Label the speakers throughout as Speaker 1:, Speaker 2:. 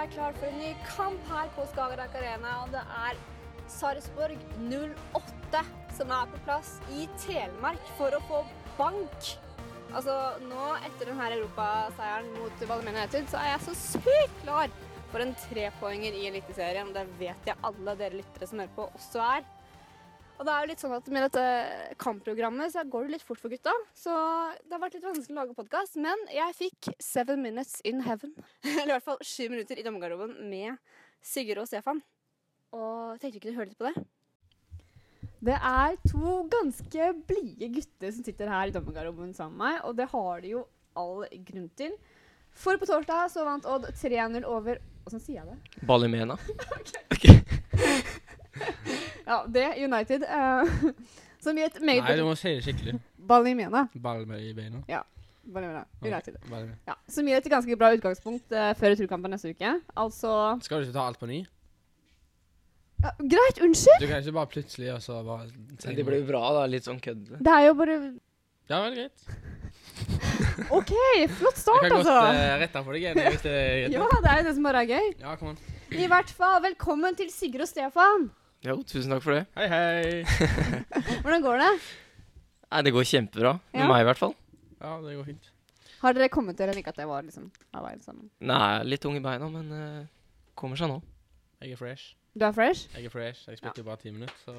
Speaker 1: er klar for en ny kamp her på Skagerrak Arena, og det er Sarpsborg 08 som er på plass i Telemark for å få bank. Altså, nå etter den her europaseieren mot Valmenia United, så er jeg så sykt klar for en trepoenger i Eliteserien. Det vet jeg alle dere lyttere som hører på, også er. Og det er jo litt sånn at Med dette kampprogrammet så går det litt fort for gutta. Så det har vært litt vanskelig å lage podkast. Men jeg fikk Seven Minutes in Heaven. Eller i hvert fall sju minutter i dommergarderoben med Sigurd og Stefan. Og tenkte vi kunne høre litt på det.
Speaker 2: Det er to ganske blide gutter som sitter her i dommergarderoben sammen med meg, og det har de jo all grunn til. For på torsdag så vant Odd 3-0 over Åssen sier jeg det?
Speaker 3: Balimena.
Speaker 2: Ja, det United. eh, som i et meget
Speaker 4: Nei, du må si det skikkelig.
Speaker 2: Balimena.
Speaker 4: Ball med i beina.
Speaker 2: Balimena.
Speaker 4: Ja,
Speaker 2: United.
Speaker 4: ball med.
Speaker 2: Ja, som gir et ganske bra utgangspunkt eh, før returkampen neste uke. Altså
Speaker 4: Skal du ikke ta alt på ny?
Speaker 2: ja, Greit, unnskyld!
Speaker 4: Du kan ikke bare plutselig og så bare
Speaker 3: Men det blir bra, da. Litt sånn køddete.
Speaker 2: Det er jo bare
Speaker 4: Ja, vel, greit.
Speaker 2: OK, flott
Speaker 4: Jeg
Speaker 2: start,
Speaker 4: kan godt
Speaker 2: altså.
Speaker 4: eh, rette på deg igjen hvis det er greit.
Speaker 2: Ja, det er jo det som bare er gøy.
Speaker 4: Ja, kom an.
Speaker 2: I hvert fall, velkommen til Sigurd og Stefan.
Speaker 3: Jo, tusen takk for det.
Speaker 4: Hei, hei.
Speaker 2: Hvordan går det?
Speaker 3: Nei, det går kjempebra. Med
Speaker 2: Ja.
Speaker 3: meg, i hvert fall.
Speaker 4: Ja, det går fint.
Speaker 2: Har dere kommet til eller ikke at det var liksom arbeid sammen?
Speaker 3: Nei, litt tung i beina, men eh, kommer seg nå.
Speaker 4: Jeg er fresh.
Speaker 2: Du er fresh?
Speaker 4: Jeg er fresh. Jeg spilte jo bare ti minutter, så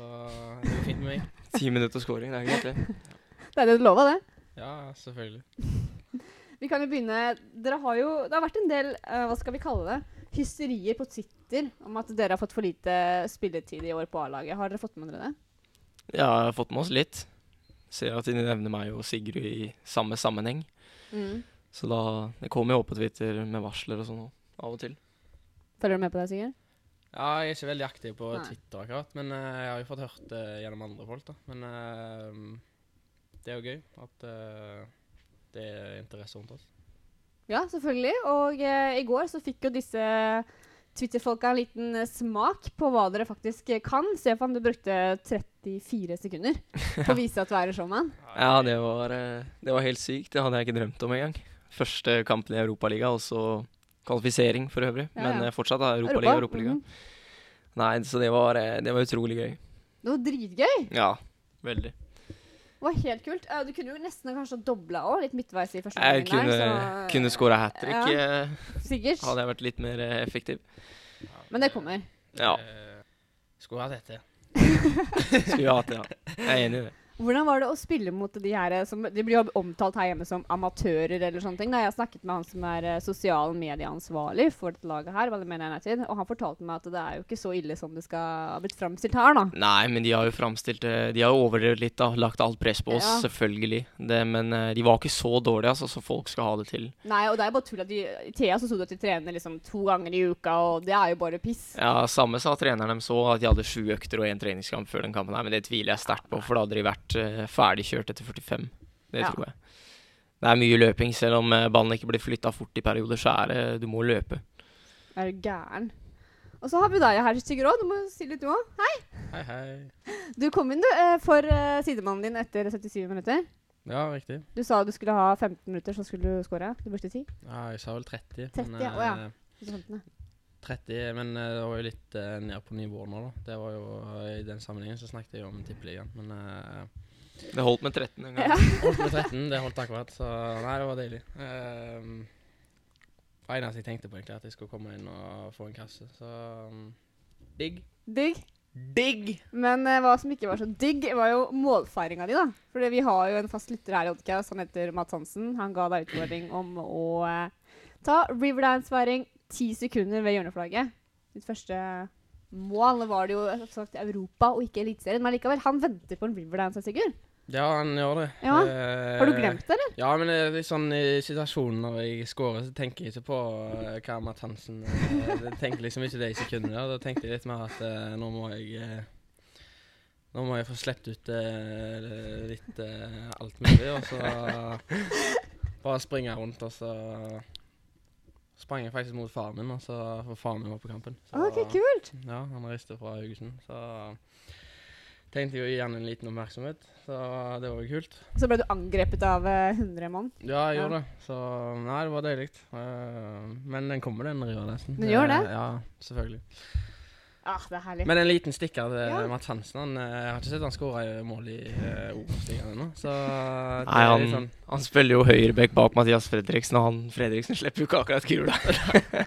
Speaker 4: det går fint med meg.
Speaker 3: Ti minutter scoring, det er greit, det.
Speaker 2: Det er det du lova, det.
Speaker 4: Ja, selvfølgelig.
Speaker 2: Vi kan jo begynne Dere har jo Det har vært en del, eh, hva skal vi kalle det, hysterier på Twitter om at dere har fått for lite spilletid i år på A-laget. Har dere fått med dere det?
Speaker 3: Ja, jeg har fått med oss litt. Ser at de nevner meg og Sigurd i samme sammenheng.
Speaker 2: Mm.
Speaker 3: Så da Det kommer jo opp på Twitter med varsler og sånn òg, av og til.
Speaker 2: Følger du med på det, Sigurd?
Speaker 4: Ja, jeg er ikke veldig aktiv på
Speaker 2: Nei.
Speaker 4: Twitter akkurat, men eh, jeg har jo fått hørt det gjennom andre folk, da. Men eh, det er jo gøy at eh, det er interesse rundt oss.
Speaker 2: Ja, selvfølgelig. Og eh, i går så fikk jo disse Twitter-folka en liten eh, smak på hva dere faktisk eh, kan. Stefan, du brukte 34 sekunder på å vise at du er en showman.
Speaker 3: Ja, det var, eh, det var helt sykt. Det hadde jeg ikke drømt om engang. Første kampen i Europaligaen, og så kvalifisering for øvrig.
Speaker 2: Ja, ja.
Speaker 3: Men eh, fortsatt da, Europaliga,
Speaker 2: Europa,
Speaker 3: Europaliga.
Speaker 2: mhm.
Speaker 3: Nei, så det var, eh, det var utrolig gøy.
Speaker 2: Det var dritgøy.
Speaker 3: Ja, veldig.
Speaker 2: Det var helt kult. Eh, Du kunne jo nesten kanskje dobla òg, litt midtveis i første
Speaker 3: Jeg
Speaker 2: gangen
Speaker 3: kunne,
Speaker 2: der, så-
Speaker 3: kunne skåra hat trick, eh,
Speaker 2: Sikkert.
Speaker 3: hadde jeg vært litt mer eh, effektiv.
Speaker 2: Men det kommer.
Speaker 3: Ja,
Speaker 4: Eh, Skulle hatt dette.
Speaker 3: skulle jeg hatt det, ja. Jeg er enig i det.
Speaker 2: Hvordan var det å spille mot de her eh, som De blir jo omtalt her hjemme som amatører eller sånne ting. Da jeg snakket med han som er eh, sosial medieansvarlig for dette laget her, hva det mener jeg United, og han fortalte meg at det er jo ikke så ille som det skal ha blitt framstilt her, da.
Speaker 3: Nei, men de har jo framstilt eh, De har jo overdrevet litt, da. Lagt alt press på oss,
Speaker 2: Ja.
Speaker 3: selvfølgelig. Det, men eh, de var ikke så dårlige, altså, så folk skal ha det til.
Speaker 2: Nei, og det er jo bare tull at de I Thea så sto det at de trener liksom to ganger i uka, og det er jo bare piss.
Speaker 3: Ja, Samme sa treneren dem så, at de hadde sju økter og én treningskamp før den kampen. her, Men det tviler jeg sterkt på, for da hadde de vært eh, ferdigkjørt etter 45. Det
Speaker 2: Ja.
Speaker 3: tror jeg. Det er mye løping, selv om eh, ballen ikke blir flytta fort i perioder, så er det Du må løpe.
Speaker 2: Er du gæren? Og så har vi deg her, Sigurd òg. Du må si litt, du òg.
Speaker 4: Hei, hei.
Speaker 2: Du kom inn du, eh, for eh, sidemannen din etter 77 minutter.
Speaker 4: Ja, riktig.
Speaker 2: Du sa du skulle ha 15 minutter, så skulle du skåre. Du brukte 10.
Speaker 4: Ja, jeg sa vel 30.
Speaker 2: 30,
Speaker 4: men,
Speaker 2: ja. Å, ja.
Speaker 4: eh,
Speaker 2: Så 15, ja.
Speaker 4: 30, men eh, det var jo litt eh, ned på nivå nå, da. Det var jo, eh, I den sammenhengen så snakket jeg jo om tippeligaen, men eh,
Speaker 3: Det holdt med 13 en gang.
Speaker 4: holdt med 13, det holdt akkurat. Så nei, det var deilig. Ehm, det var eneste jeg tenkte på, egentlig, at jeg skulle komme inn og få en kasse. Så um, digg.
Speaker 2: Digg.
Speaker 3: Digg!
Speaker 2: Men eh, hva som ikke var så digg, var jo målfeiringa di, da. For vi har jo en fast lytter her i Oddcast, han heter Mads Hansen. Han ga deg utfordring om å eh, ta Riverdance-feiring ti sekunder ved hjørneflagget. Ditt første mål var det jo eh, som sagt Europa og ikke Eliteserien. Men likevel, han venter på en Riverdance, Sigurd.
Speaker 4: Ja, han gjør det.
Speaker 2: Ja.
Speaker 4: Eh,
Speaker 2: Har du glemt det, eller?
Speaker 4: Ja, men det er litt sånn i situasjonen når jeg scorer, så tenker jeg ikke på eh, hva Matt Hansen eh, Jeg tenker liksom ikke det i sekundet. der. Da tenkte jeg litt mer at eh, nå må jeg eh, Nå må jeg få sluppet ut eh, litt eh, alt mulig, og så bare springe rundt, og så sprang jeg faktisk mot faren min, og så for faren min var på kampen. Så,
Speaker 2: OK, kult.
Speaker 4: Ja, han reiste fra Haugesund, så Tenkte jo gjerne en liten oppmerksomhet, så det var jo kult.
Speaker 2: Så ble du angrepet av eh, 100 mann.
Speaker 4: Ja, jeg
Speaker 2: Ja.
Speaker 4: gjorde det, så Nei, det var deilig. Eh, Men den kommer, den riva, nesten. Eh,
Speaker 2: Den gjør det?
Speaker 4: Ja, selvfølgelig.
Speaker 2: Ah, det er herlig.
Speaker 4: Men en liten stikker til
Speaker 2: Ja.
Speaker 4: Mats Hansen. Han, eh, jeg har ikke sett han skåre mål i eh, Obos-ligaen ennå, så det
Speaker 3: Nei,
Speaker 4: er
Speaker 3: han,
Speaker 4: litt sånn-
Speaker 3: han spiller jo høyrebekk bak Mathias Fredriksen, og han Fredriksen slipper jo ikke akkurat kula.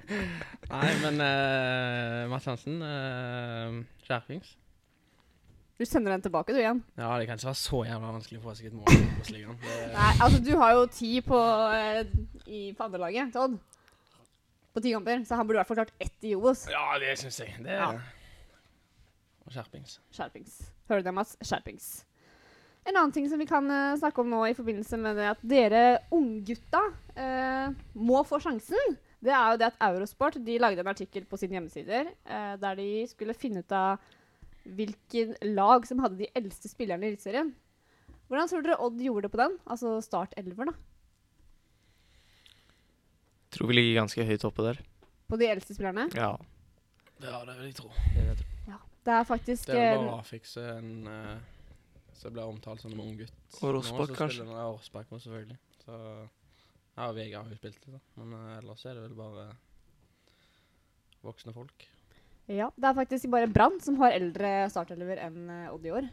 Speaker 4: Nei, men eh, Mats Hansen uh, Skjerpings.
Speaker 2: Du sender den tilbake, du, igjen.
Speaker 4: Ja, det kan ikke være så jævla vanskelig å få seg et mål i Obos-ligaen. Det-
Speaker 2: Nei, altså, du har jo ti på, eh, i, på andrelaget til Odd. På ti kamper. Så han burde i hvert fall klart ett i Obos.
Speaker 4: Ja, det syns jeg. Det
Speaker 2: Ja.
Speaker 4: Og skjerpings.
Speaker 2: Skjerpings. Hører du det, Mats? Skjerpings. En annen ting som vi kan eh, snakke om nå i forbindelse med det at dere unggutta eh, må få sjansen, det er jo det at Eurosport de lagde en artikkel på sine hjemmesider eh, der de skulle finne ut av hvilken lag som hadde de eldste spillerne i Eliteserien. Hvordan tror dere Odd gjorde det på den? Altså Start 11, da.
Speaker 3: Tror vi ligger ganske høyt oppe der.
Speaker 2: På de eldste spillerne.
Speaker 3: Ja.
Speaker 4: Ja, det vil jeg tro.
Speaker 2: Det er faktisk
Speaker 4: Det er vel
Speaker 2: eh,
Speaker 4: bare å fikse en eh, som blir omtalt som en ung gutt.
Speaker 3: Og Rosbach,
Speaker 4: Nå, så
Speaker 3: kanskje?
Speaker 4: spiller han- Ja, Rosbach også, selvfølgelig. Så ja, VG har jo spilt det, da. Men eh, ellers er det vel bare voksne folk.
Speaker 2: Ja, det er faktisk bare Brann som har eldre startelver enn eh, Odd i år.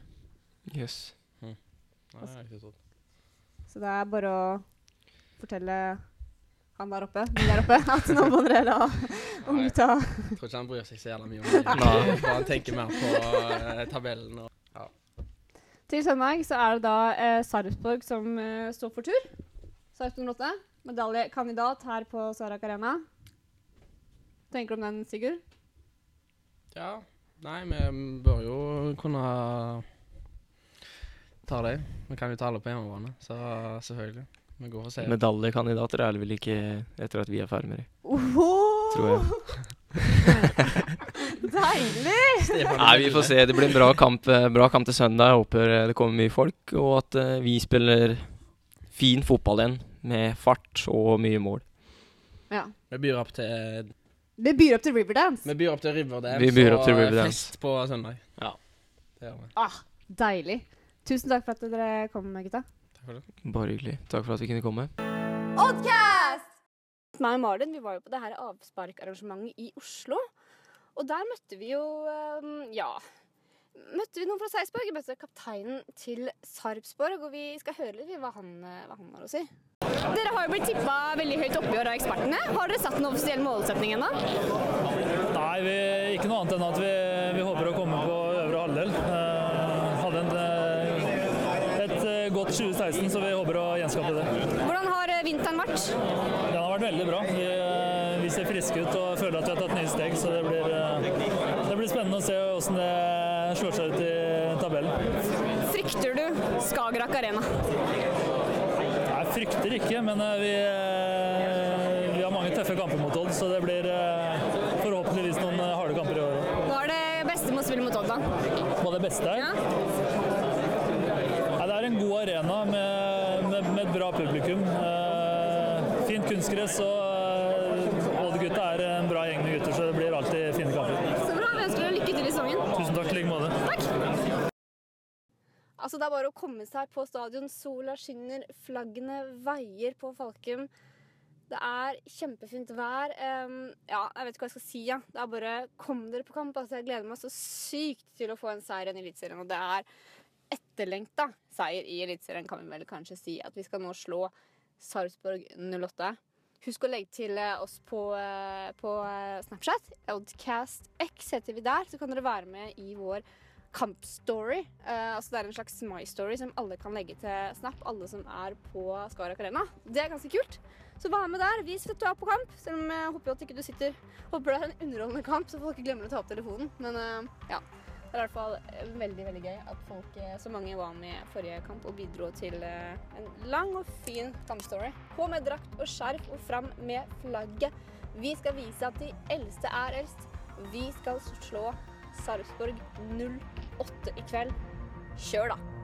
Speaker 3: Jøss.
Speaker 4: Nei, jeg har ikke trodd.
Speaker 2: Så det er bare å fortelle han der oppe, de der oppe, at nå må dere la unggutta
Speaker 4: Jeg tror ikke han bryr seg så jævla mye om det.
Speaker 3: Nei.
Speaker 4: Bare Han tenker mer på eh, tabellen og
Speaker 2: Til søndag så er det da eh, Sarpsborg som eh, står for tur. Sarpsborg 08, medaljekandidat her på Sarak Arena. Tenker du om den, Sigurd?
Speaker 4: Ja. Nei, vi bør jo kunne ta det. Vi kan jo ta det på hjemmebane, så selvfølgelig. Vi går for seier.
Speaker 3: Medaljekandidater er det vel ikke etter at vi er ferdig med det.
Speaker 2: Oho!
Speaker 3: Tror
Speaker 2: Deilig!
Speaker 4: Stefan
Speaker 3: Nei, vi
Speaker 4: Mille.
Speaker 3: får se. Det blir en bra kamp, eh, bra kamp til søndag. Jeg håper eh, det kommer mye folk, og at eh, vi spiller fin fotball igjen. Med fart og mye mål.
Speaker 2: Ja.
Speaker 4: Vi byr opp til
Speaker 2: Det byr opp til Riverdance.
Speaker 4: Vi byr opp til Riverdance
Speaker 3: Vi byr opp til
Speaker 4: og
Speaker 3: Riverdance.
Speaker 4: fest på søndag.
Speaker 3: Ja.
Speaker 4: Det gjør vi.
Speaker 2: Ah, deilig. Tusen takk for at dere kom, gutta.
Speaker 4: Takk for det.
Speaker 3: Bare hyggelig. Takk for at vi kunne komme.
Speaker 1: Oddcast! Meg og Malin vi var jo på det her avsparkarrangementet i Oslo. Og der møtte vi jo ehm, ja møtte vi noen fra Sarpsborg. Vi møtte kapteinen til Sarpsborg, og vi skal høre litt i hva han, eh, hva han har å si. Dere har jo blitt tippa veldig høyt oppi år av ekspertene. Har dere satt en offisiell målsetning ennå?
Speaker 5: Nei, vi, ikke noe annet enn at vi, vi håper å komme på øvre halvdel. Eh, hadde en, eh, et eh, godt 2016, så vi håper å gjenskape det.
Speaker 1: Hvordan har eh, vinteren vært?
Speaker 5: Den har vært veldig bra. Vi, eh, vi ser friske ut og føler at vi har tatt nye steg, så det blir, eh, det blir spennende å se hvordan det slår seg ut i tabellen.
Speaker 1: Frykter du Skagerrak Arena?
Speaker 5: Jeg frykter ikke, men eh, vi, eh, vi har mange tøffe kamper mot Odd, så det blir eh, forhåpentligvis noen eh, harde kamper i år. også.
Speaker 1: Hva er det beste med å spille mot Odd, da?
Speaker 5: Hva er det beste er?
Speaker 1: Ja?
Speaker 5: Nei, det er en god arena med, med, med et bra publikum. Eh, fint kunstgress, og eh, Odd-gutta er en bra gjeng med gutter, så det blir alltid fine kamper.
Speaker 1: Så bra. Vi ønsker dere lykke til i sesongen.
Speaker 5: Tusen takk i like måte.
Speaker 1: Altså, det er bare å komme seg på stadion. Sola skinner, flaggene veier på Falkum. Det er kjempefint vær. Em, ja, jeg vet ikke hva jeg skal si. Ja. Det er bare kom dere på kamp. Altså, jeg gleder meg så sykt til å få en seier igjen i Eliteserien. Og det er etterlengta seier i Eliteserien, kan vi vel kanskje si. At vi skal nå slå Sarpsborg 08. Husk å legge til eh, oss på, eh, på eh, Snapchat. Oddcastx heter vi der. Så kan dere være med i vår kampstory. Eh, altså det er en slags My Story som alle kan legge til Snap, alle som er på Skarak Arena. Det er ganske kult. Så vær med der. Vis at du er på kamp. Selv om jeg håper jo at ikke du sitter Håper det er en underholdende kamp, så folk ikke glemmer å ta opp telefonen. Men eh, ja. Det er i hvert fall eh, veldig veldig gøy at folk, eh, så mange var med i forrige kamp og bidro til eh, en lang og fin kampstory. På med drakt og skjerf og fram med flagget. Vi skal vise at de eldste er eldst. Vi skal slå Sarpsborg 08 i kveld. Kjør, da!